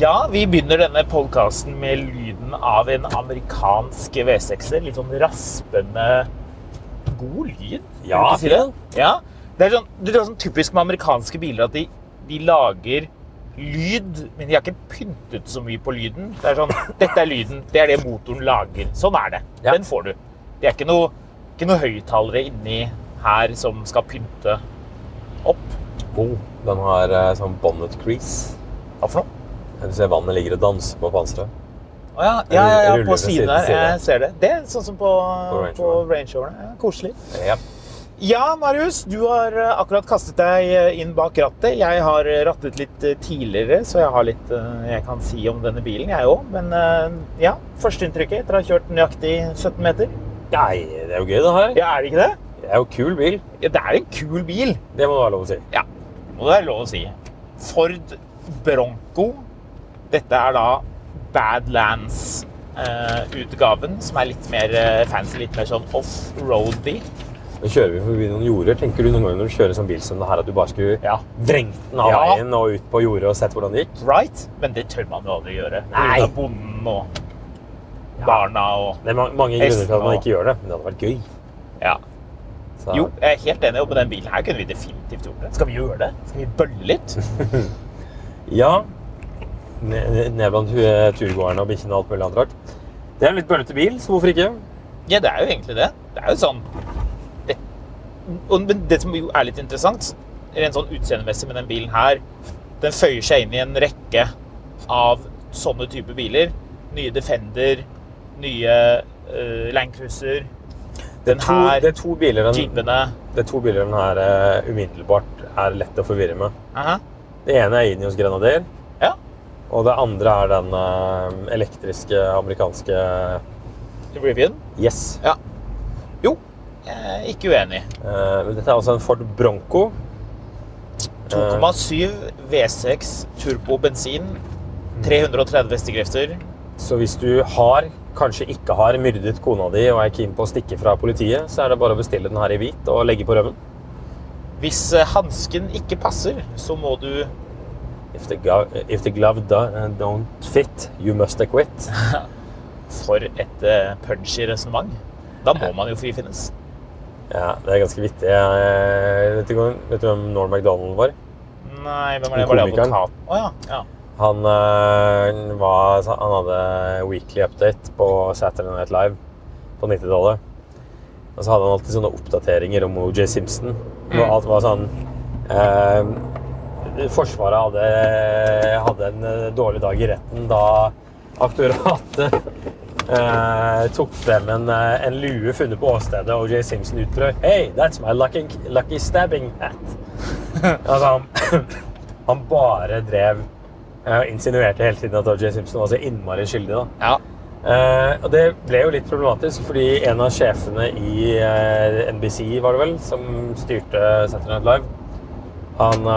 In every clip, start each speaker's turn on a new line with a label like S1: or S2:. S1: Ja, vi begynner denne podkasten med lyden av en amerikansk V6-er. Litt sånn raspende god lyd.
S2: Ja,
S1: Kan du si det? ja. Det er sånn, det er sånn typisk med amerikanske biler at de, de lager lyd, men de har ikke pyntet så mye på lyden. Det er sånn Dette er lyden. Det er det motoren lager. Sånn er det.
S2: Ja.
S1: Den får du. Det er ikke noe, ikke noe høyttalere inni her som skal pynte opp.
S2: God. Den har eh, sånn bonnet crease.
S1: Hva for noe?
S2: Du ser vannet ligger og danser på panseret.
S1: Å ja, ja, ja, ja,
S2: Ruller
S1: på
S2: ved
S1: siden
S2: siden
S1: der.
S2: siden.
S1: Jeg ser det. Det er sånn som på,
S2: På Range
S1: på
S2: Rover.
S1: Range Rover. Ja, koselig.
S2: Ja.
S1: Ja, Marius, du har eh, akkurat kastet deg eh, inn bak rattet. Jeg har eh, rattet litt eh, tidligere, så jeg har litt eh, jeg kan si om denne bilen, jeg òg. Men eh, ja, førsteinntrykket etter å ha kjørt nøyaktig 17 meter.
S2: Nei, det er jo gøy, det her.
S1: Ja, er det ikke det?
S2: Det er jo kul bil.
S1: Ja, det er en kul bil.
S2: Det må det være lov å si.
S1: Ja, og det er lov å si. Ford Bronco. Dette er da Badlands-utgaven, som er litt mer eh, fancy, litt mer sånn off-roady.
S2: Nå kjører vi forbi noen jorder. Tenker du noen ganger når du kjører sånn bil som det her, at du bare skulle
S1: Ja.
S2: vrengt den av
S1: Ja.
S2: veien og ut på jordet og sett hvordan det gikk?
S1: Right? Men det tør man jo aldri gjøre.
S2: Nei.
S1: Pga. bonden og barna og
S2: Det er ma mange grunner til at man
S1: Hesten og-
S2: ikke gjør det, men det hadde vært gøy.
S1: Ja.
S2: Så-
S1: Jo, jeg er helt enig. Og på den bilen her kunne vi definitivt gjort det. Skal vi gjøre det? Skal vi bølle litt?
S2: Ja. Ned ned blant hu- eh, turgåerene og bikkjene og alt mulig annet rart. Det er en litt bøllete bil, så hvorfor ikke?
S1: Ja, det er jo egentlig det. Det er jo sånn det, og, Men det som jo er litt interessant, rent sånn utseendemessig med den bilen her, den føyer seg inn i en rekke av sånne type biler. Nye Defender, nye uh, Land Cruiser, Den
S2: Det er to,
S1: her-
S2: det er to biler den,
S1: Jeepene
S2: det er to biler den her eh, umiddelbart er lett å forvirre med.
S1: Aha.
S2: Det ene er Ineos Grenadier,
S1: Ja.
S2: og det andre er den eh, elektriske amerikanske
S1: Rivian.
S2: Yes.
S1: Ja. Jo, jeg er ikke uenig.
S2: Eh, men dette er altså en Ford Bronco.
S1: 2,7 V6 turbo bensin, 330 hestekrefter.
S2: Så hvis du har, kanskje ikke har, myrdet kona di og er keen på å stikke fra politiet, så er det bare å bestille den her i hvit og legge på rømmen.
S1: Hvis eh, hansken ikke passer, så må du
S2: If the, glo- if the glove do, eh, don't fit, you must acquit.
S1: for et eh, punchy resonnement. Da må man jo frifinnes.
S2: Ja, det er ganske vittig. Jeg, vet, du, hvem- vet du hvem Norm MacDonald var?
S1: Nei, hvem er det? Var det
S2: Komikeren.
S1: advokat? Å ja.
S2: Han, eh, var, han hadde weekly update på Saturday Night Live på 90-tallet. Og så hadde han alltid sånne oppdateringer om O.J. Simpson. Hvor alt var sånn eh, Forsvaret hadde, hadde en eh, dårlig dag i retten da aktoratet eh, tok frem en, eh, en lue funnet på åstedet, og O.J. Simpson utbrøt Hey, that's my lucky, lucky stabbing hat. altså, han, han bare drev jeg insinuerte hele tiden at O.J. Simpson var så innmari skyldig. da.
S1: ja. ja.
S2: Eh, og det ble jo litt problematisk, fordi en av sjefene i eh, NBC, var det vel, som styrte Saturday Night Live, han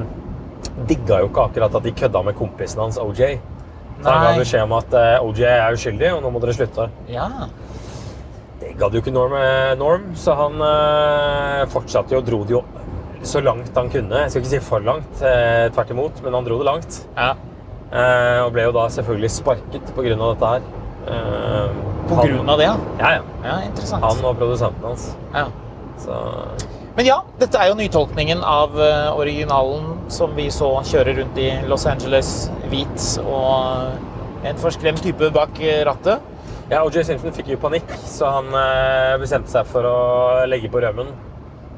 S2: eh, digga jo ikke akkurat at de kødda med kompisen hans OJ. Så han ga
S1: Nei.
S2: beskjed om at eh, OJ er uskyldig, og nå må dere slutte.
S1: Ja.
S2: Det gadd jo ikke Norm, eh, Norm så han eh, fortsatte jo og dro det jo så langt han kunne. Jeg skal ikke si for langt, eh, tvert imot, men han dro det langt.
S1: Ja.
S2: Eh, og ble jo da selvfølgelig sparket pga. dette her. Eh,
S1: På
S2: han-
S1: grunn av det, ja.
S2: Ja, ja.
S1: ja interessant.
S2: Han og produsenten hans.
S1: Ja.
S2: Så
S1: Men ja, dette er jo nytolkningen av eh, originalen som vi så kjøre rundt i Los Angeles hvit og en forskremt type bak eh, rattet.
S2: Ja, OJ Simpson fikk jo panikk, så han eh, bestemte seg for å legge på rømmen.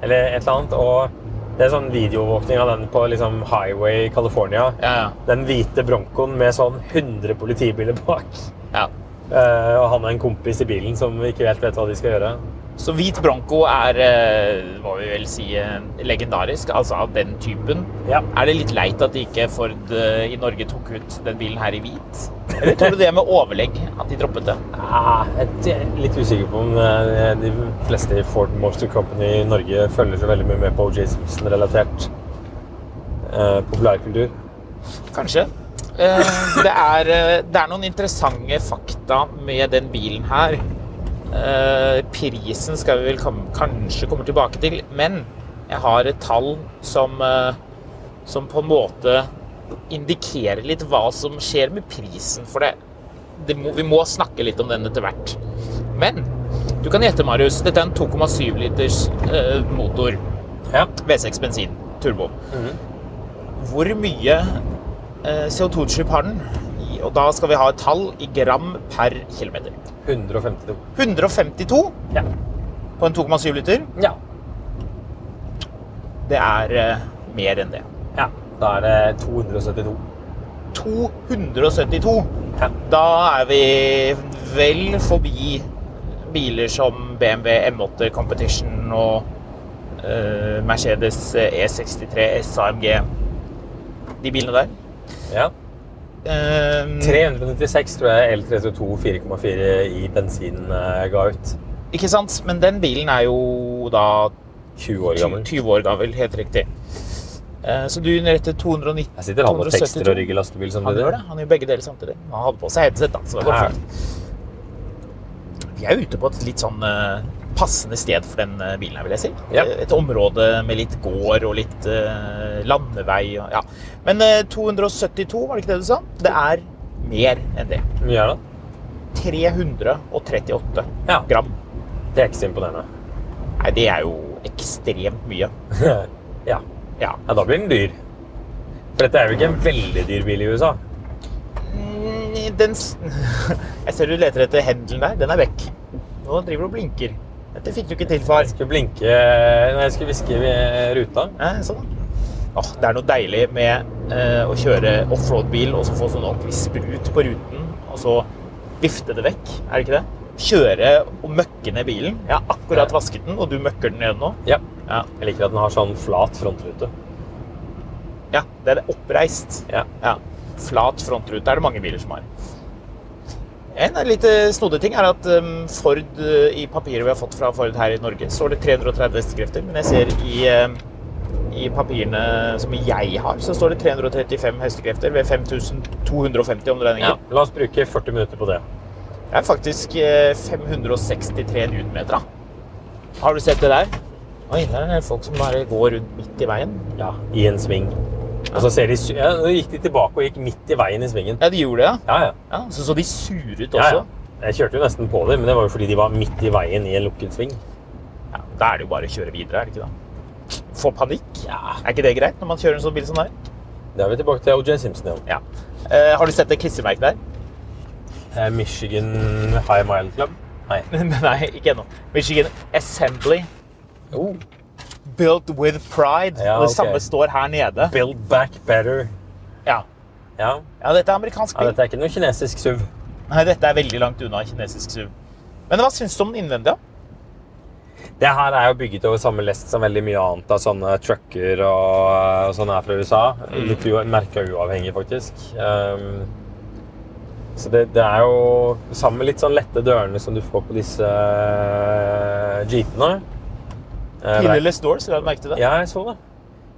S2: Eller et eller annet. Og det er sånn videoovervåkning av den på liksom, Highway California.
S1: Ja, ja.
S2: Den hvite Broncoen med sånn 100 politibiler bak.
S1: ja.
S2: Eh, og han og en kompis i bilen som ikke helt vet hva de skal gjøre.
S1: Så hvit Bronco er, eh, må vi vel si, eh, legendarisk, altså av den typen.
S2: Ja.
S1: Er det litt leit at ikke Ford eh, i Norge tok ut den bilen her i hvit? Eller tror du det med overlegg at de droppet det?
S2: Ah, jeg er litt usikker på om eh, de fleste i Ford Motor Company i Norge følger så veldig mye med på OJ Simpson-relatert eh, populærkultur.
S1: Kanskje. Eh, det, er, eh, det er noen interessante fakta med den bilen her. Eh, prisen skal vi vel kom, kanskje komme tilbake til, men jeg har et tall som, eh, som på en måte indikerer litt hva som skjer med prisen. For det, det må, vi må snakke litt om den etter hvert. Men du kan gjette, Marius. Dette er en 2,7 liters eh, motor.
S2: Ja.
S1: V6 bensin, turbo.
S2: Mhm.
S1: Hvor mye eh, CO2-utslipp har den? I, og da skal vi ha et tall i gram per kilometer.
S2: 152.
S1: 152
S2: Ja.
S1: på en 2,7 liter,
S2: Ja.
S1: det er eh, mer enn det.
S2: Ja, da er det 272.
S1: 272.
S2: Ja.
S1: Da er vi vel forbi biler som BMW M8 Competition og eh, Mercedes E E63 SAMG. De bilene der.
S2: Ja.
S1: Eh,
S2: 396 tror jeg L32 4,4 i bensin eh, ga ut.
S1: Ikke sant? Men den bilen er jo da
S2: 20 år
S1: 20
S2: gammel.
S1: 20 år gammel, helt riktig. Eh, Så du rettet 290
S2: Jeg sitter han og tekster
S1: 272.
S2: og rygger lastebil
S1: Han
S2: samtidig.
S1: gjør det. Han gjør begge deler samtidig. Han hadde på seg headset, da, så det går
S2: Ja.
S1: fint. Vi er ute på et litt sånn eh, passende sted for den eh, bilen her, vil jeg si.
S2: Ja.
S1: Et område med litt gård og litt eh, landevei og ja. Men eh, 272, var det ikke det du sa? Det er mer enn det.
S2: Mye er det?
S1: 338
S2: Ja.
S1: gram.
S2: Det er ikke så imponerende.
S1: Nei, det er jo ekstremt mye.
S2: ja.
S1: Ja.
S2: ja, da blir den dyr. For dette er jo ikke en veldig dyr bil i USA.
S1: Mm, Den s- Jeg ser du leter etter hendelen der. Den er vekk. Nå driver du og blinker. Dette fikk du ikke til, far.
S2: Jeg skulle blinke Nei, jeg skulle hviske ved ruta.
S1: Eh, sånn. Åh, det er noe deilig med eh, å kjøre offroad-bil og så få sånn ordentlig sprut på ruten, og så vifte det vekk. Er det ikke det? Kjøre og møkke ned bilen. Jeg har akkurat vasket den, og du møkker den igjen nå.
S2: Ja.
S1: Ja,
S2: Jeg liker at den har sånn flat frontrute.
S1: ja det er oppreist.
S2: Ja.
S1: Ja. Flat frontrute er det mange biler som har. En litt eh, snodig ting er at eh, Ford eh, i papiret vi har fått fra Ford her i Norge, står det 330 hestekrefter, men jeg ser i, eh, i papirene som jeg har, så står det 335 hestekrefter ved 5250
S2: Ja.
S1: omdreininger.
S2: La oss bruke 40 minutter på det.
S1: Det er faktisk eh, 563 newtonmeter. da. Har du sett det der? Oi, der er det folk som bare går rundt midt i veien.
S2: Ja, I en sving. Og så ser de sy- ja, nå gikk de tilbake og gikk midt i veien i svingen.
S1: Ja, de gjorde det, ja.
S2: Ja, ja.
S1: ja så så de sure ut
S2: Ja,
S1: også.
S2: ja. Jeg kjørte jo nesten på dem, men det var jo fordi de var midt i veien i en lukket sving.
S1: Ja, da er det jo bare å kjøre videre, er det ikke da? Få panikk? Er ikke det greit når man kjører en sånn bil som der?
S2: Da er vi tilbake til OJ Simpson igjen.
S1: Ja. Eh, har du sett det klistremerket der?
S2: Eh, Michigan High Mile Club. Nei.
S1: Nei, ikke ennå. Michigan Assembly
S2: Oh.
S1: built with pride.
S2: Ja,
S1: Og Det
S2: ok.
S1: samme står her nede.
S2: Build Back Better.
S1: Ja.
S2: Ja.
S1: ja, dette er amerikansk
S2: ja,
S1: bil.
S2: dette er ikke noe kinesisk SUV.
S1: Nei, dette er veldig langt unna kinesisk SUV. Men hva syns du om den innvendige?
S2: Det her er jo bygget over samme lest som veldig mye annet av sånne trucker og, og sånne her fra USA. Litt u- merka uavhengig, faktisk. Um, så det, det er jo sammen med litt sånn lette dørene som du får på disse eh, jeepene. Eh, det-
S1: Pilleless doors, la du merke til det?
S2: Ja, jeg så det.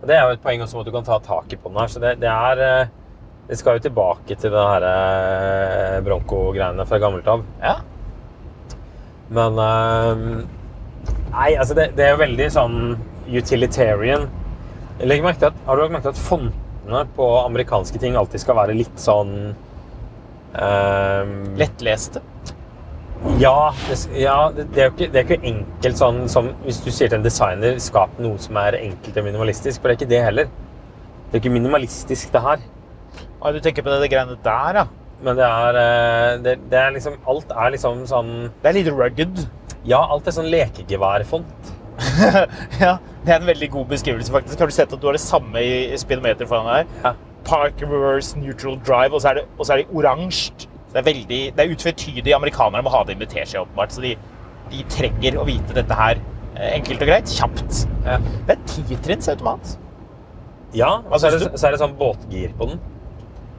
S2: Og det er jo et poeng også med at du kan ta taket på den her. Så det, det er eh, Det skal jo tilbake til det her eh, Bronco-greiene fra gammelt av.
S1: Ja.
S2: Men eh, Nei, altså det, det er jo veldig sånn utilitarian. Legg merke til at, har du lagt merke til at fontene på amerikanske ting alltid skal være litt sånn eh,
S1: Lettleste.
S2: ja, det, ja det, det, er jo ikke, det er ikke enkelt sånn som hvis du sier til en designer skap noe som er enkelt og minimalistisk, for det er ikke det heller. Det er ikke minimalistisk det her,
S1: Ah, du tenker på det, det greiene der, ja.
S2: men det er, eh, det, det er liksom, alt er liksom sånn,
S1: Det er litt rugged.
S2: ja, alt er sånn lekegeværfont.
S1: ja, det er en veldig god beskrivelse, faktisk. Har du sett at du har det samme i speedometer foran deg?
S2: Ja.
S1: Park reverse neutral drive, og så er det, og så er det oransje. Det er veldig, det er utvetydig. Amerikanere må ha det i teskje, åpenbart. Så de, de trenger å vite dette her eh, enkelt og greit, kjapt.
S2: Ja.
S1: Det er titrinns automat.
S2: Ja, og så er,
S1: synes
S2: det, så er det sånn båtgir på den.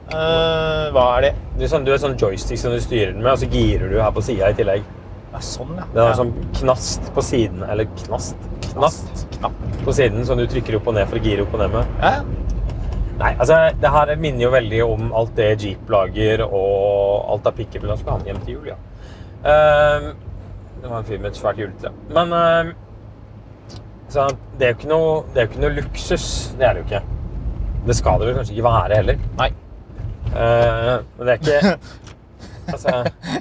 S1: Eh, hva er det?
S2: Du er, sånn, du er sånn joystick som du styrer den med, og så girer du her på siden i tillegg.
S1: Ja, sånn, ja.
S2: Det er
S1: ja.
S2: sånn knast på siden, eller knast, knast
S1: Knapp.
S2: på siden som du trykker opp og ned for å gire opp og ned med.
S1: Ja, ja.
S2: Nei, altså, det her minner jo veldig om alt det Jeep lager og alt av pickup han skulle ha med hjem til jul, ja. Ehm, det var en fyr med et svært juletre. Men ehm, så det er jo ikke noe, det er jo ikke noe luksus, det er det jo ikke. Det skal det vel kanskje ikke være heller.
S1: Nei.
S2: Ehm, men det er ikke Altså,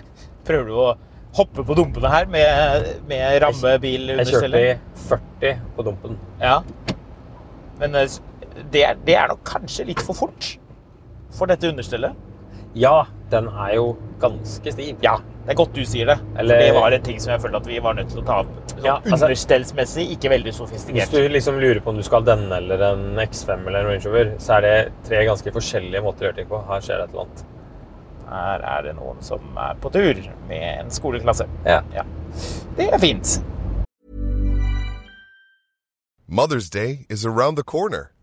S1: Prøver du å hoppe på dumpene her med, med rammebil
S2: jeg kjørte i 40 på dumpen.
S1: Ja. Men eh, s- det er, det er nok kanskje litt for fort for dette understellet.
S2: Ja, den er jo ganske stiv.
S1: Ja, det er godt du sier det.
S2: Eller-
S1: For det var en ting som jeg følte at vi var nødt til å ta opp. Sånn
S2: Ja, altså-
S1: understellsmessig, ikke veldig
S2: Hvis
S1: sofistikert.
S2: du liksom lurer på om du skal ha denne eller en X5 eller en Range Rover, så er det tre ganske forskjellige måter å gjøre ting på. Her skjer det et eller annet.
S1: Her er det noen som er på tur med en skoleklasse.
S2: Ja.
S1: Ja. Det er fint.
S3: Mother's Day is around the corner.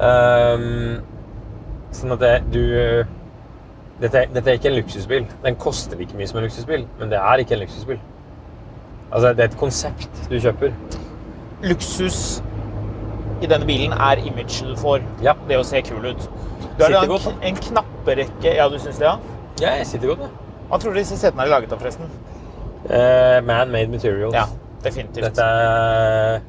S2: Ehm, sånn at det, du dette, er- dette er ikke en luksusbil. Den koster like mye som en luksusbil, men det er ikke en luksusbil. Altså, det er et konsept du kjøper.
S1: Luksus i denne bilen er imaget du får.
S2: Ja.
S1: Det å se kul ut. Du
S2: Sitter
S1: har en,
S2: godt, da.
S1: kn- en knapperekke Ja, du syns det, ja?
S2: Ja, jeg sitter godt, da.
S1: Hva tror du disse setene er laget av, forresten?
S2: Eh, Man-made materials.
S1: Ja, definitivt.
S2: Dette er,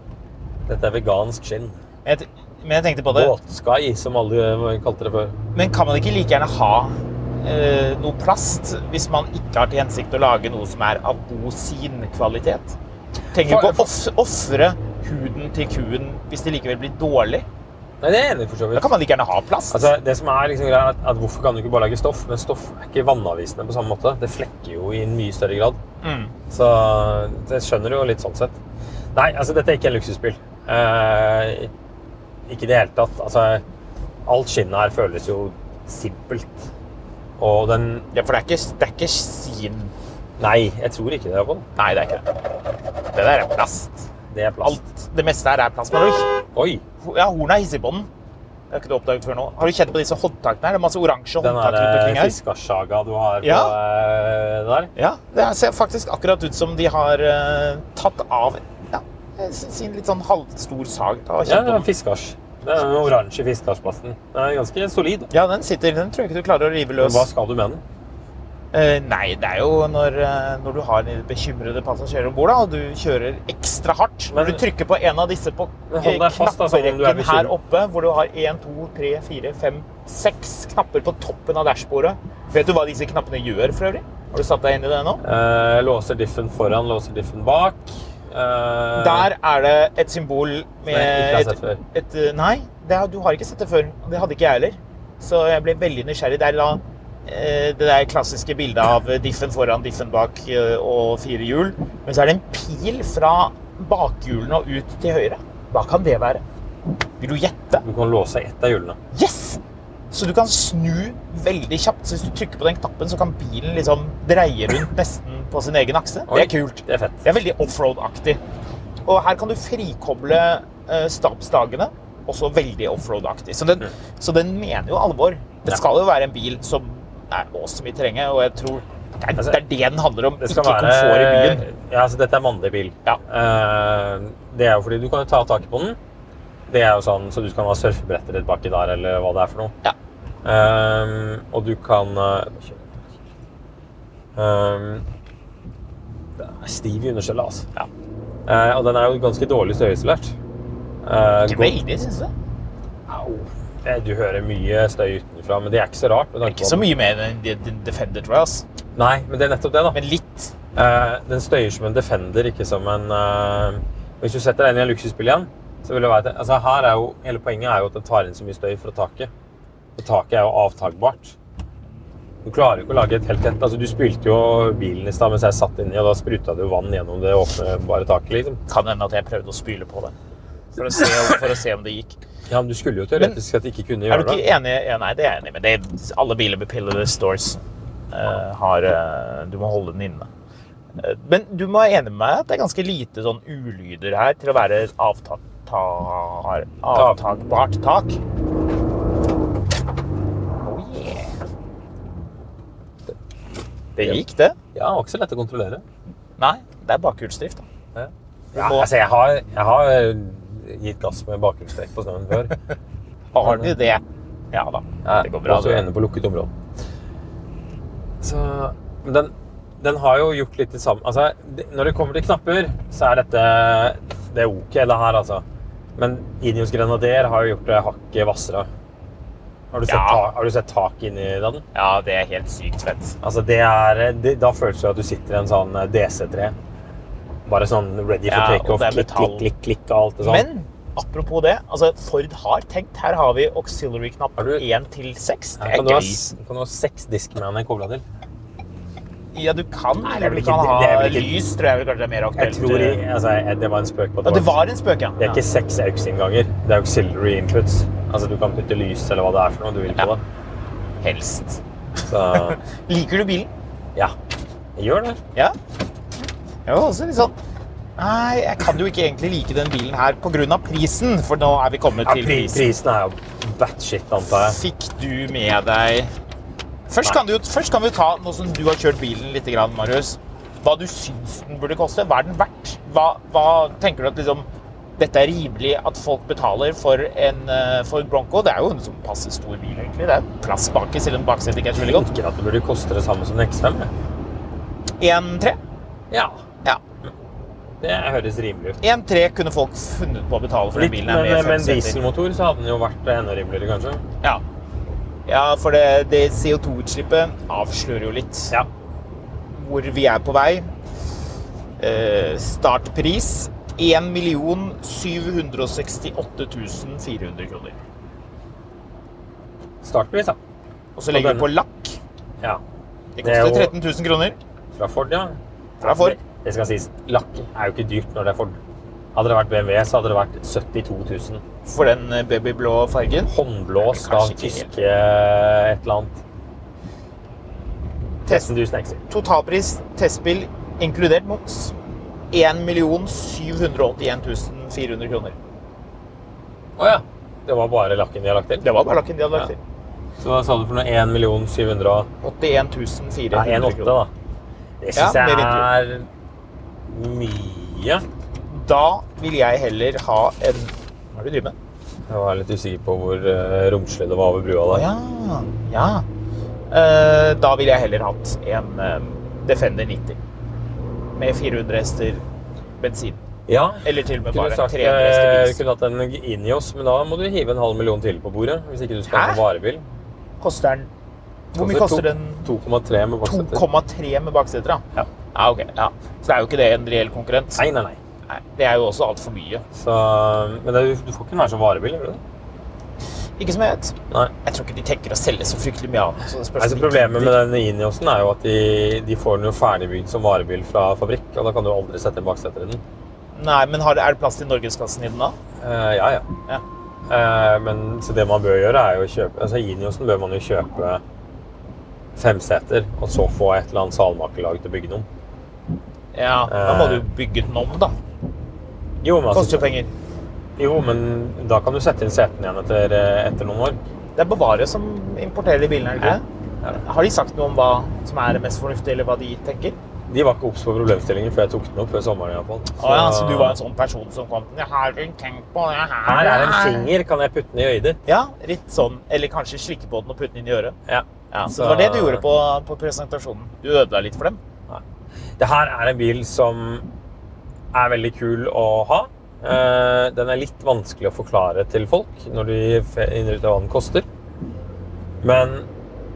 S2: dette er vegansk skinn.
S1: Jeg t- Men jeg tenkte på det.
S2: Båtskai, som alle kalte det før.
S1: Men kan man ikke like gjerne ha eh, noe plast hvis man ikke har til hensikt å lage noe som er av god sin kvalitet? Trenger du
S2: For-
S1: ikke å off- ofre huden til kuen hvis det likevel blir dårlig?
S2: Nei, det er jeg enig i, for så vidt.
S1: Da kan man like gjerne ha plast.
S2: Altså, det som er liksom greia er at, at Hvorfor kan du ikke bare lage stoff? Men stoff er ikke vannavvisende på samme måte. Det flekker jo i en mye større grad. Så det skjønner du jo litt sånn sett. Nei, altså, dette er ikke en luksusbil. Eh, ikke i det hele tatt. Altså, alt skinnet her føles jo simpelt. Og den
S1: ja, for det er ikke, det er ikke sin
S2: Nei, jeg tror ikke det er på den.
S1: Nei, det er ikke det. Det der er plast.
S2: Det er plast.
S1: Alt, det meste her er plast. Men har du,
S2: Oi!
S1: ho- ja, hornet er hissig på den. Det har ikke du oppdaget før nå. Har du kjent på disse håndtakene her? Det er masse oransje
S2: Den eh,
S1: håndtak rundt omkring
S2: der
S1: her.
S2: fiskasjaga du har på eh, der.
S1: Ja, det er- ser faktisk akkurat ut som de har eh, tatt av ja, s- sin litt sånn halvstor sag. Da,
S2: Ja,
S1: ja,
S2: det er fiskasj. Det er den oransje fiskasjplasten. Den er ganske solid.
S1: ja, den sitter. Den tror jeg ikke du klarer å rive
S2: Men
S1: løs.
S2: hva skal du med den?
S1: Eh, Nei, det er jo når, eh, når du har de bekymrede passasjerer om bord, da, og du kjører ekstra hardt. Når
S2: Men-
S1: du trykker på en av disse på
S2: Men
S1: eh,
S2: hold deg fast, da, sånn om du er
S1: knapperekken her
S2: bekymret.
S1: oppe, hvor du har 1, 2, 3, 4, 5, 6 knapper på toppen av dashbordet. Vet du hva disse knappene gjør, for øvrig? Har du satt deg inn i det nå?
S2: Eh, låser diffen foran, låser diffen bak. Eh,
S1: Der er det et symbol med
S2: Som jeg ikke har sett
S1: et, et, eh, Nei, det, har- du har ikke sett det før. og Det hadde ikke jeg heller. Så jeg ble veldig nysgjerrig. Det er da eh, det der klassiske bildet av diffen foran, diffen bak eh, og fire hjul. Men så er det en pil fra bakhjulene og ut til høyre. Hva kan det være? Vil du gjette?
S2: Du kan låse ett av hjulene.
S1: Yes! Så du kan snu veldig kjapt. Så hvis du trykker på den knappen, så kan bilen liksom dreie rundt nesten på sin egen akse. Det
S2: Oi,
S1: er kult.
S2: Det er fett.
S1: Det er veldig offroad-aktig. Og her kan du frikoble eh, stabsdagene, også veldig offroad-aktig. Så, den- så den mener jo alvor.
S2: Mm. Ja.
S1: Det skal jo være en bil som er awesome i terrenget, og jeg tror det er,
S2: Altså,
S1: det er det den handler om,
S2: Det
S1: ikke
S2: skal
S1: komfort i byen.
S2: være Ja, altså dette er mandig bil.
S1: Ja.
S2: Eh, det er jo fordi du kan jo ta tak på den. Det er jo sånn, Så du kan ha surfebrettet ditt baki der, eller hva det er for noe.
S1: Ja.
S2: Eh, og du kan eh, eh, Det er stiv i understellet, altså.
S1: Ja.
S2: Eh, og den er jo ganske dårlig støyisolert. Eh,
S1: Ikke
S2: godt-
S1: veldig, syns du?
S2: Au. Eh, Du hører mye støy utenfra, men det er ikke så rart. med tanke
S1: Ikke så
S2: på at-
S1: mye mer enn en- en Defender, tror jeg. ass.
S2: Nei, men det er nettopp det, da.
S1: Men litt.
S2: Eh, den støyer som en Defender, ikke som en eh, Hvis du setter deg inn i en luksusbil igjen, så vil du være til altså, her er jo, Hele poenget er jo at den tar inn så mye støy fra taket. Og taket er jo avtakbart. Du klarer jo ikke å lage et helt tett Altså, du spilte jo bilen i stad mens jeg satt inni, og da spruta det jo vann gjennom det åpne bare taket, liksom.
S1: Kan hende at jeg prøvde å spyle på det. For å, se, for å se om det gikk.
S2: Ja, men du skulle jo teoretisk sett ikke kunne
S1: Er
S2: gjøre
S1: du
S2: det.
S1: ikke enig? Ja, nei, det er jeg enig i. Men det er- alle biler med pillede stores eh, har eh, Du må holde den inne. Eh, men du må være enig med meg at det er ganske lite sånn ulyder her til å være et avtak, ta, avtakbart tak. Oh yeah. Det gikk, det.
S2: Ja, det var ikke så lett å kontrollere.
S1: Nei, det er bakhjulsdrift. da.
S2: Ja.
S1: Du må-
S2: altså, jeg har, jeg har gitt gass med bakgrunnstrekk på snøen før.
S1: Har du det? Ja da. Det går bra.
S2: Også
S1: det.
S2: gjerne på lukket område. Så, men den, den har jo gjort litt det samme. Altså, det- når det kommer til knapper, så er dette Det er ok, det her, altså. Men Ineos Grenadier har jo gjort det hakket hvassere. Har du sett,
S1: Ja.
S2: ta, har du sett tak inni den?
S1: Ja, det er helt sykt fett.
S2: Altså, det er, det, da føles det som at du sitter i en sånn DC3. Bare sånn ready for
S1: Ja, og
S2: takeoff.
S1: det er
S2: Klikk, klikk,
S1: metall.
S2: klikk, klikk og alt det sånn.
S1: Men apropos det, altså Ford har tenkt. Her har vi
S2: Har
S1: auxiliary-knapp
S2: du-
S1: 1 til 6. Det
S2: Her
S1: er
S2: kan du ha,
S1: gøy.
S2: s- kan du ha seks diskmaner kobla til.
S1: Ja, du kan,
S2: Nei, det er
S1: eller
S2: vel
S1: du
S2: ikke-
S1: kan
S2: det- det er
S1: ha
S2: vel ikke-
S1: lys, tror jeg vel kanskje det er mer
S2: Jeg
S1: aktuelt.
S2: tror i- altså, jeg- Det var en spøk. på at
S1: Ja, det
S2: var-
S1: var en spøk, ja.
S2: Det er ikke seks AUX-innganger. Det er auxiliary inputs. Altså, du kan putte lys eller hva det er for noe du vil på
S1: Ja.
S2: det.
S1: Ja, helst.
S2: Så,
S1: Liker du bilen?
S2: ja. Jeg gjør det.
S1: Ja. Jeg var også litt sånn Nei, jeg kan jo ikke egentlig like den bilen her pga. prisen, for nå er vi kommet
S2: Ja,
S1: til
S2: pri
S1: prisen.
S2: prisen er jo batshit, antar jeg.
S1: Fikk du med deg Først kan, du, først kan vi ta, nå som du har kjørt bilen litt, grann, Marius, hva du syns den burde koste. Hva er den verdt? Hva, hva tenker du at liksom, dette er rimelig at folk betaler for en eh, Ford Bronco? Det er jo en som passer stor bil, egentlig. Det er plass baki, selv om baksetet ikke er så
S2: Jeg
S1: veldig godt.
S2: tenker at det burde koste det samme som en X5. jeg.
S1: 1,3.
S2: Ja.
S1: Ja.
S2: Det høres rimelig ut.
S1: 1,3 kunne folk funnet på å betale for
S2: Litt,
S1: den bilen. her
S2: men
S1: med
S2: med en
S1: femseter.
S2: dieselmotor så hadde den jo vært enda rimeligere, kanskje.
S1: Ja. ja, for det, det CO2-utslippet avslører jo litt.
S2: Ja.
S1: hvor vi er på vei. Eh, startpris 1 768 400 kroner.
S2: Startpris, da.
S1: Og så legger
S2: Og
S1: vi
S2: den-
S1: på lakk.
S2: Ja.
S1: Det
S2: Det er
S1: koster
S2: jo-
S1: 13 000 kroner.
S2: Fra Ford, ja.
S1: Fra Ford.
S2: Det, det skal sies. Lakk er jo ikke dyrt når det er Ford. Hadde det vært BMW, så hadde det vært 72 000.
S1: For den eh, babyblå fargen.
S2: håndblåst av
S1: Kanskje ikke helt.
S2: tyske et eller annet.
S1: Test,
S2: 13 000 ekstra.
S1: totalpris testbil inkludert moms 1 781 400 kroner.
S2: Å ja. Det var bare lakken de har lagt til?
S1: Det var bare lakken de hadde lagt til.
S2: Så hva sa du for noe? 1 700 og
S1: 81
S2: Nei,
S1: 400
S2: 1,8
S1: kroner.
S2: da. Det syns
S1: Ja, det
S2: jeg er mye.
S1: Da vil jeg heller ha en Hva er det du driver med?
S2: Jeg var litt usikker på hvor eh, romslig det var over brua der.
S1: Ja, ja. Eh, Da ville jeg heller hatt en eh, Defender 90 med 400 hester bensin.
S2: Ja.
S1: Eller til og med
S2: Kunne
S1: bare
S2: du sagt,
S1: 300 hester
S2: eh,
S1: diesel.
S2: kunne hatt en Inios, men da må du hive en halv million til på bordet. Hvis ikke du skal
S1: Hæ?
S2: ha en varebil.
S1: Koster den Hvor mye koster
S2: to-
S1: den?
S2: 2,3 med baksetter.
S1: 2,3 med bakseter, da?
S2: Ja.
S1: Ja, ok. Ja. Så det er jo ikke det en reell konkurrent.
S2: Nei, nei, nei.
S1: Nei, Det er jo også altfor mye.
S2: Så, men det, du får ikke den her som varebil, gjør du det?
S1: Ikke som jeg vet.
S2: Nei.
S1: Jeg tror ikke de tenker å selge så fryktelig mye av den. så det spørs
S2: Altså,
S1: om de
S2: problemet med
S1: gidder.
S2: den Iniosen er jo at de, de får den jo ferdigbygd som varebil fra fabrikk, og da kan du aldri sette en baksetter i den.
S1: Nei, men har, er det plass til norgesklassen i den da?
S2: Eh, ja, ja.
S1: Ja.
S2: Eh, men så det man bør gjøre, er jo å kjøpe Altså, Iniosen bør man jo kjøpe femseter, og så få et eller annet salmakerlag til å bygge den om.
S1: Ja, da må
S2: Eh.
S1: du jo bygge den om, da.
S2: Jo, men,
S1: Koster jo
S2: altså,
S1: penger.
S2: jo, men da kan du sette inn setene igjen etter, eh, etter noen år.
S1: Det er Bavaria som importerer de bilene, er det ikke
S2: Ja.
S1: det? Har de sagt noe om hva som er det mest fornuftige, eller hva de tenker?
S2: De var ikke obs på problemstillingen før jeg tok den opp før sommeren. i hvert fall.
S1: Å ja, så du var en sånn person som kom Jeg har ikke tenkt på det her.
S2: Her er en finger, kan jeg putte den i øyet ditt?
S1: Ja, litt sånn. Eller kanskje slikke på den og putte den inn i øret.
S2: Ja.
S1: Ja, så, det
S2: Så-
S1: var det du gjorde på, på presentasjonen. Du ødela litt for dem.
S2: Det her er en bil som er veldig kul å ha. Eh, den er litt vanskelig å forklare til folk når de fe- finner ut hva den koster. Men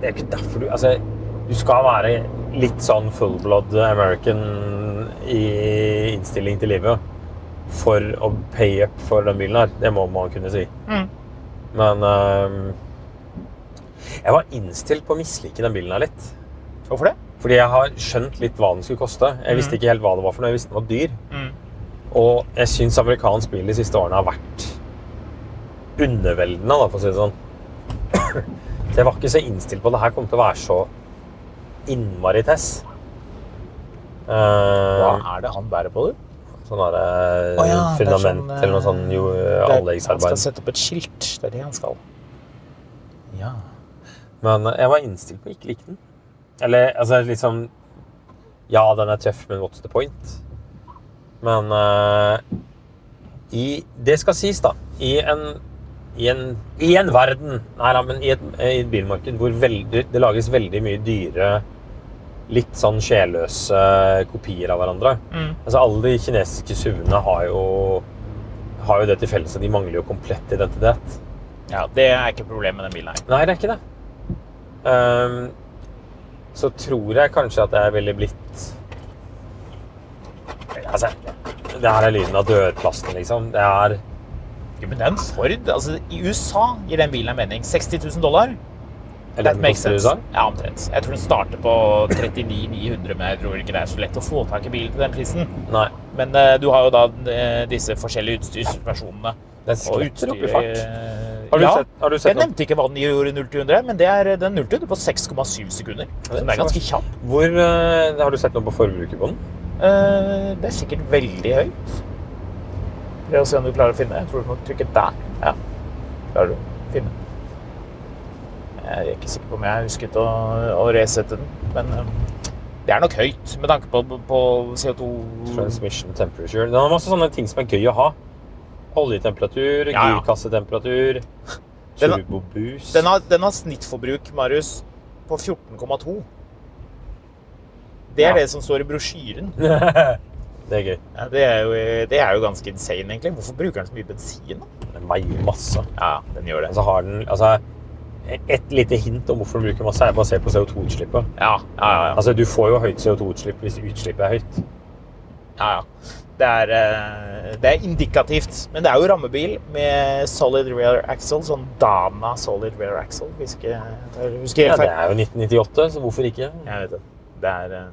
S2: det er ikke derfor du Altså, du skal være litt sånn full-blood American i innstilling til livet for å pay up for den bilen her. Det må man kunne si. Men eh, jeg var innstilt på å mislike den bilen her litt.
S1: Hvorfor det?
S2: Fordi jeg har skjønt litt hva den skulle koste. Jeg
S1: Mm.
S2: visste ikke helt hva det var for noe. Jeg visste den var dyr. Og jeg syns amerikansk bil de siste årene har vært underveldende, da, for å si det sånn. så jeg var ikke så innstilt på at det her kom til å være så innmari tess. Eh,
S1: Hva er det han bærer på, du?
S2: Sånn er det
S1: Å ja, det er
S2: fundament
S1: sånn, eh,
S2: eller noe sånn jo,
S1: Det er- Han skal
S2: anleggsarbeid.
S1: sette opp et skilt. Det er det han skal. Ja.
S2: Men jeg var innstilt på å ikke like den. Eller altså liksom Ja, den er tøff, men what's the point? Men eh, i Det skal sies, da. I en, i en, i en verden Nei da, men i et, i et bilmarked hvor veldig, det lages veldig mye dyre Litt sånn sjelløse kopier av hverandre. Altså, alle de kinesiske SUV-ene har jo, har jo det til felles at de mangler jo komplett identitet.
S1: ja, det er ikke problemet med den bilen her.
S2: Nei, det er ikke det. Ehm, så tror jeg kanskje at jeg ville blitt Altså, det her er lyden av dørplasten, liksom. Det er
S1: Jo, men det er en Ford. Altså, I USA gir den bilen her mening. 60 000 dollar.
S2: Eller den koster i USA?
S1: Ja, omtrent. Jeg tror den starter på 39 900, men jeg tror ikke det er så lett å få tak i bil til den prisen.
S2: Nei.
S1: Men eh, du har jo da eh, disse forskjellige utstyrsversjonene.
S2: Den
S1: Og
S2: skvetter opp i
S1: utstyret
S2: fart.
S1: eh,
S2: Har du
S1: ja.
S2: sett- har du sett
S1: Jeg
S2: noen-
S1: nevnte ikke hva den gjorde i 0 til 100, men det er eh, den 0 til 100 på 6,7 sekunder. Så den er ganske kjapp.
S2: Hvor eh, Har du sett noe på forbruket på den?
S1: Eh, det er sikkert veldig høyt. Prøv å se om du klarer å finne. Jeg tror du må trykke der. Ja, klarer du å finne. Jeg er ikke sikker på om jeg husket å, å resette den, men eh, det er nok høyt med tanke på, på CO2
S2: Transmission temperature. Den har masse sånne ting som er gøy å ha. Oljetemperatur,
S1: Ja, ja.
S2: girkassetemperatur,
S1: Den har-
S2: turboboost
S1: Den har, den har snittforbruk, Marius, på 14,2. Det er
S2: Ja.
S1: det som står i brosjyren.
S2: Det er gøy.
S1: Ja, det, er jo, det er jo ganske insane, egentlig. Hvorfor bruker den så mye bensin? da?
S2: Den veier masse.
S1: Ja, den gjør
S2: Altså, har den, altså, et lite hint om hvorfor den bruker masse, er basert på CO2-utslippet.
S1: Ja, ja, ja. ja.
S2: Altså, du får jo høyt CO2-utslipp hvis utslippet er høyt.
S1: ja, ja. Det, er, eh, det er indikativt. Men det er jo rammebil med solid rear axle, sånn Dana solid rear axle. Hvis ikke jeg tar- husker
S2: Ja,
S1: helt
S2: det
S1: feil.
S2: er jo 1998, så hvorfor ikke?
S1: Jeg vet det. Det er eh,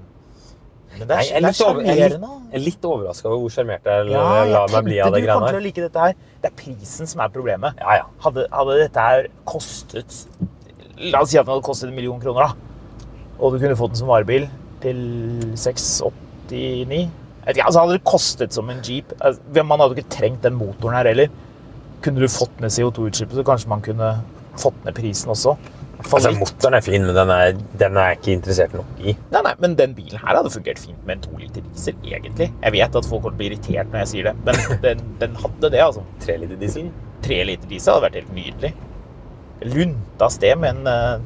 S1: Men det
S2: Nei,
S1: er,
S2: jeg er
S1: det er
S2: litt, over, jeg er litt,
S1: sjarmerende. da.
S2: jeg er litt overraska over hvor sjarmert jeg
S1: Ja,
S2: la- la
S1: jeg
S2: meg bli
S1: tenkte
S2: av det
S1: du kom
S2: greiene
S1: til å
S2: her.
S1: like dette her. Det er prisen som er problemet.
S2: Ja, ja.
S1: Hadde, hadde dette her kostet La oss si at den hadde kostet en million kroner, da. Og du kunne fått den som varebil til 689 Jeg vet ikke, altså Hadde det kostet som en jeep altså, Man hadde jo ikke trengt den motoren her heller. Kunne du fått ned CO2-utslippet, så kanskje man kunne fått ned prisen også.
S2: Altså,
S1: Favoritt-
S2: motoren er fin, men den er, den er jeg ikke interessert nok i.
S1: Nei, nei, men den bilen her hadde fungert fint med en 2 liter diesel, egentlig. Jeg vet at folk kommer til å bli irritert når jeg sier det, men den, den hadde det, altså.
S2: Tre liter diesel.
S1: Tre liter diesel hadde vært helt nydelig. Lunta sted med en eh,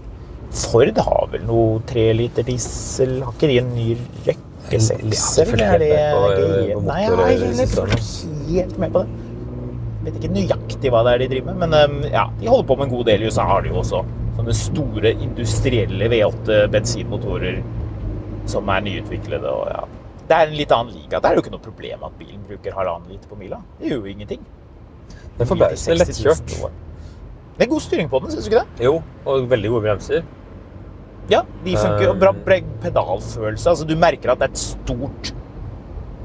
S1: Ford har vel noe tre liter diesel? Har ikke de en ny rekke sekser?
S2: følger
S1: eller er det eh, greie?
S2: helt med på- på
S1: Nei, jeg er
S2: motorsystemet.
S1: heller helt med på det. Vet ikke nøyaktig hva det er de driver med, men um, ja, de holder på med en god del i USA. har de jo også sånne store industrielle V8 bensinmotorer som er nyutviklede. og ja. Det er en litt annen liga. Det er jo ikke noe problem at bilen bruker halvannen liter på mila. Det gjør jo ingenting.
S2: Den er forbausende
S1: 60 000
S2: lettkjørt.
S1: år. Det er god styring på den, syns du ikke det?
S2: Jo, og veldig gode bremser.
S1: Ja, de funker jo.
S2: Eh.
S1: Bra pre- pedalfølelse. Altså, du merker at det er et stort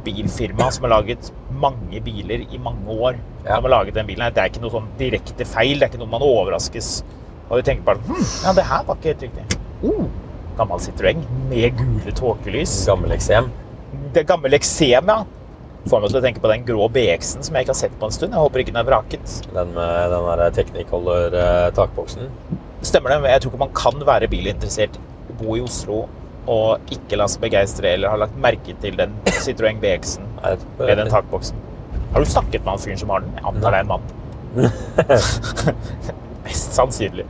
S1: bilfirma som har laget mange biler i mange år.
S2: Ja.
S1: Som har laget den bilen. her. Det er ikke noe sånn direkte feil. Det er ikke noe man overraskes og du tenker bare hm, ja, det her var ikke helt riktig. Oh, gammel Citroën med gule tåkelys.
S2: Gammel eksem.
S1: Det gamle eksem, ja. Får meg til å tenke på den grå BX-en som jeg ikke har sett på en stund. Jeg håper ikke den er vraket.
S2: Den med den der eh, Technicolor-takboksen.
S1: Stemmer det. men Jeg tror ikke man kan være bilinteressert, bo i Osro og ikke la seg begeistre eller ha lagt merke til den Citroën BX-en med den takboksen. Har du snakket med han fyren som har den? Jeg antar det er en mann. Mest sannsynlig.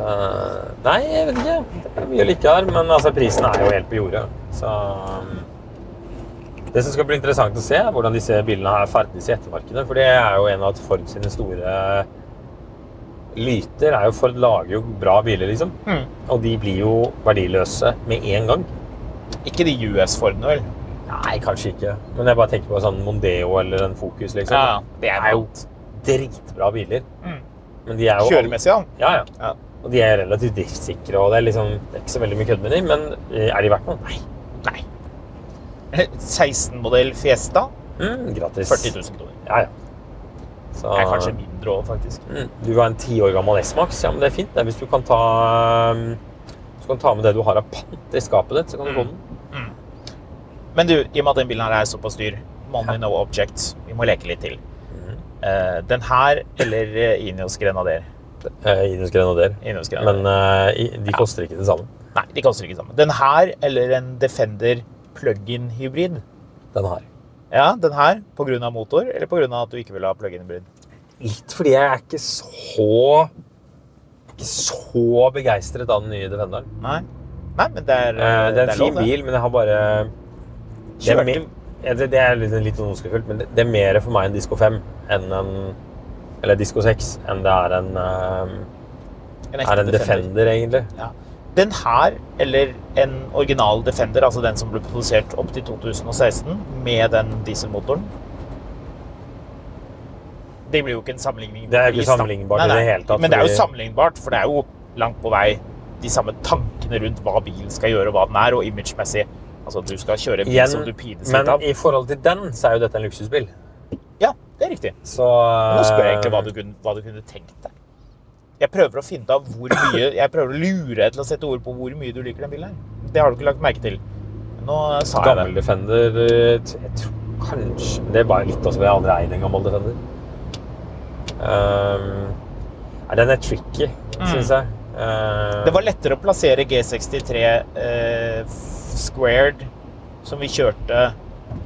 S2: Eh, Nei, jeg vet ikke. Det er mye å like her, men altså, prisen er jo helt på jordet. Så um, Det som skal bli interessant å se, er hvordan disse bilene her ferdes i ettermarkedet. For det er jo en av Ford sine store lyter. er jo Ford lager jo bra biler, liksom.
S1: Mm.
S2: Og de blir jo verdiløse med en gang.
S1: Ikke de US-Fordene, vel?
S2: Nei, kanskje ikke. Men jeg bare tenker på sånn Mondeo eller en Focus, liksom.
S1: Ja, det er
S2: er jo
S1: jo
S2: dritbra biler.
S1: Mm.
S2: Men de er jo
S1: kjøremessig, ja.
S2: Ja, ja.
S1: Ja.
S2: Og de er relativt driftssikre, og det er liksom det er ikke så veldig mye kødd med dem. Men eh, er de verdt noe? Nei.
S1: Nei. 16-modell Fiesta,
S2: Mm, gratis.
S1: 40 000 kroner.
S2: Ja, ja. Så,
S1: Det er kanskje mindre òg, faktisk.
S2: mm, Du har en ti år gammel S-Max. Ja, men det er fint. Det er hvis du kan ta um, hvis du kan ta med det du har av pant i skapet ditt, så kan du
S1: Mm.
S2: få den.
S1: Men du, i og med at den bilen her er såpass dyr, money no objects, vi må leke litt til. Eh, den her eller eh, Ineos Grenadier?
S2: Eh, Ineos Grenadier.
S1: Ineos
S2: Men
S1: Grenadier.
S2: eh, i- de koster ikke det samme.
S1: Nei, de kaster ikke sammen. Den her eller en Defender plug-in hybrid?
S2: Den her.
S1: Ja, den her på grunn av motor, eller på grunn av at du ikke vil ha plug-in hybrid?
S2: Litt fordi jeg er ikke så ikke så begeistret av den nye Defenderen.
S1: Nei. Nei, men det er,
S2: Eh, det er en
S1: lov,
S2: fin
S1: det.
S2: bil, men jeg har bare det er,
S1: Kjørte-
S2: mer, ja, det, det er litt, litt ondskefullt, men det, det er mer for meg en Disko 5 enn en Eller Disko 6 enn det er en, eh,
S1: En ekte
S2: er en
S1: Defender.
S2: Defender, egentlig.
S1: Ja. Den her, eller en original Defender, altså den som ble produsert opp til 2016, med den dieselmotoren Det blir jo ikke en sammenligning.
S2: Det er jo ikke
S1: i stand-
S2: sammenlignbart i det hele tatt,
S1: Men det er jo
S2: fordi-
S1: sammenlignbart, for det er jo langt på vei de samme tankene rundt hva bilen skal gjøre, og hva den er, og imagemessig. Altså, du skal kjøre en bil som du
S2: Igjen,
S1: pines litt
S2: men
S1: av.
S2: i forhold til den, så er jo dette en luksusbil.
S1: Ja, det er riktig.
S2: Så
S1: Nå spør jeg
S2: Eh.
S1: egentlig hva du kunne, hva du kunne tenkt deg. Jeg prøver å finne ut av hvor mye Jeg prøver å lure deg til å sette ord på hvor mye du liker den bilen her. Det har du ikke lagt merke til. Nå sa jeg det.
S2: Gammel Defender eh, t- Jeg tror kanskje Det er bare litt også fordi jeg aldri eier en gammel Defender. Ehm, nei, den er tricky, syns jeg. Ehm,
S1: Mm. Det var lettere å plassere G63 eh, f- squared, som vi kjørte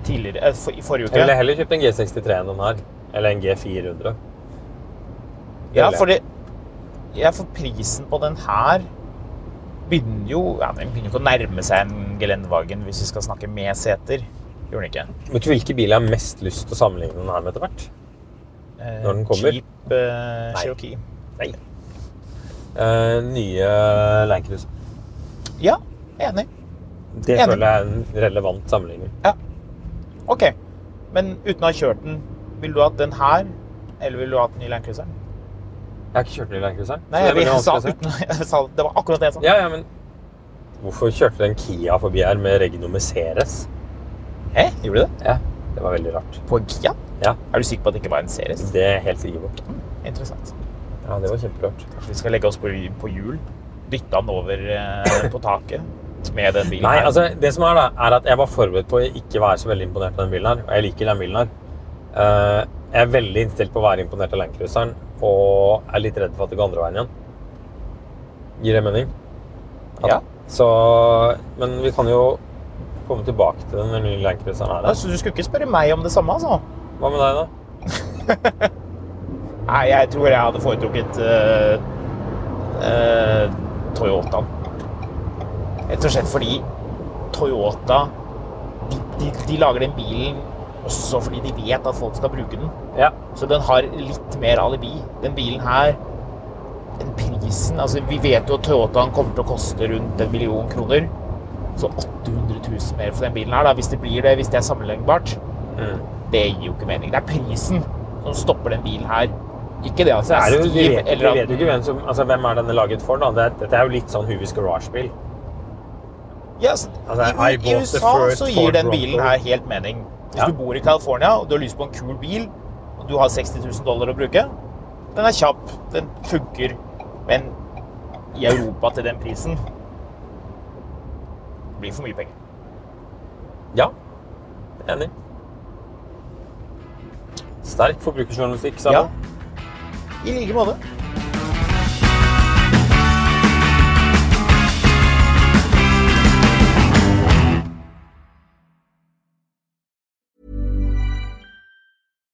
S1: tidligere eh, for, i forrige
S2: Jeg ville
S1: uke.
S2: heller kjøpt en G63 enn den her. Eller en G400.
S1: Ja,
S2: ville jeg.
S1: fordi ja, for prisen på den her begynner jo ja, Den begynner jo ikke å nærme seg en Geländewagen hvis vi skal snakke med seter. Gjorde den ikke?
S2: Vet du hvilke biler jeg har mest lyst til å sammenligne den her med etter hvert?
S1: Eh,
S2: Når den kommer?
S1: Jeep eh, Cherokee.
S2: Nei. Eh, nye Land Cruiser.
S1: Ja, enig.
S2: Det
S1: Enig.
S2: føler jeg er en relevant sammenligning.
S1: Ok, men uten å ha kjørt den, vil du ha den her, eller vil du ha den i Land Cruiseren?
S2: Jeg har ikke kjørt den i Land Cruiser. så
S1: Nei,
S2: det
S1: jeg,
S2: er veldig
S1: sa
S2: vanskelig å si.
S1: uten, jeg sa det var akkurat det jeg sa.
S2: Ja, ja, men hvorfor kjørte den Kia forbi her med Regno Mercedes?
S1: Hæ, gjorde du det?
S2: Ja, det var veldig rart.
S1: På Gia?
S2: Ja, Mm.
S1: Er du sikker på at det ikke var en series?
S2: det er jeg helt sikker på.
S1: Interessant.
S2: Ja, det var kjemperart.
S1: Kanskje vi skal legge oss på, på hjul, dytte den over eh, på taket med den bilen
S2: Nei,
S1: her.
S2: altså, det som er da, er at jeg var forberedt på å ikke være så veldig imponert av den bilen her, og jeg liker den bilen her. Eh, jeg er veldig innstilt på å være imponert av Land Cruiseren, og er litt redd for at det går andre veien igjen. Gir det mening? At-
S1: Ja.
S2: Så, men vi kan jo komme tilbake til den når den nye Land Cruiseren her.
S1: Ja, Så du skulle ikke spørre meg om det samme, altså?
S2: Hva med deg da?
S1: Nei, jeg tror jeg hadde foretrukket eh, eh, Toyotaen. Rett og slett fordi Toyota de, de, de lager den bilen også fordi de vet at folk skal bruke den.
S2: Ja.
S1: Så den har litt mer alibi. Den bilen her Den prisen Altså, vi vet jo at Toyotaen kommer til å koste rundt en million kroner. Så 800 000 mer for den bilen her, da, hvis det blir det, hvis det er sammenlignbart.
S2: Mm.
S1: Det gir jo ikke mening. Det er prisen som stopper den bilen her. Ikke det at det
S2: Det
S1: er,
S2: er jo, vi,
S1: stiv
S2: vet, vi
S1: eller at-
S2: vet jo ikke hvem som altså, Hvem er denne laget for, da? Det- Dette er jo litt sånn Huvis garasjebil.
S1: Ja, altså, i,
S2: Altså, I
S1: I
S2: bought the
S1: USA
S2: first
S1: så gir
S2: Ford
S1: den
S2: Bronco.
S1: bilen her helt mening. Hvis
S2: Ja.
S1: du bor i California og du har lyst på en kul bil, og du har 60 000 dollar å bruke, den er kjapp, den funker, men i Europa til den prisen det blir for mye penger.
S2: Ja. Enig. Sterk forbrukerjournalistikk, sa
S1: Ja.
S2: han.
S1: I like måte.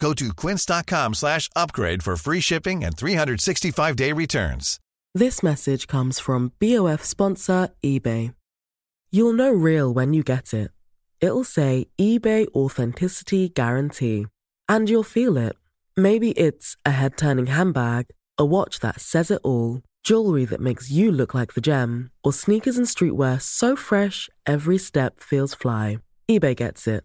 S4: Go to quince.com slash upgrade for free shipping and 365-day returns.
S5: This message comes from BOF sponsor eBay. You'll know real when you get it. It'll say eBay Authenticity Guarantee. And you'll feel it. Maybe it's a head turning handbag, a watch that says it all, jewelry that makes you look like the gem, or sneakers and streetwear so fresh every step feels fly. eBay gets it.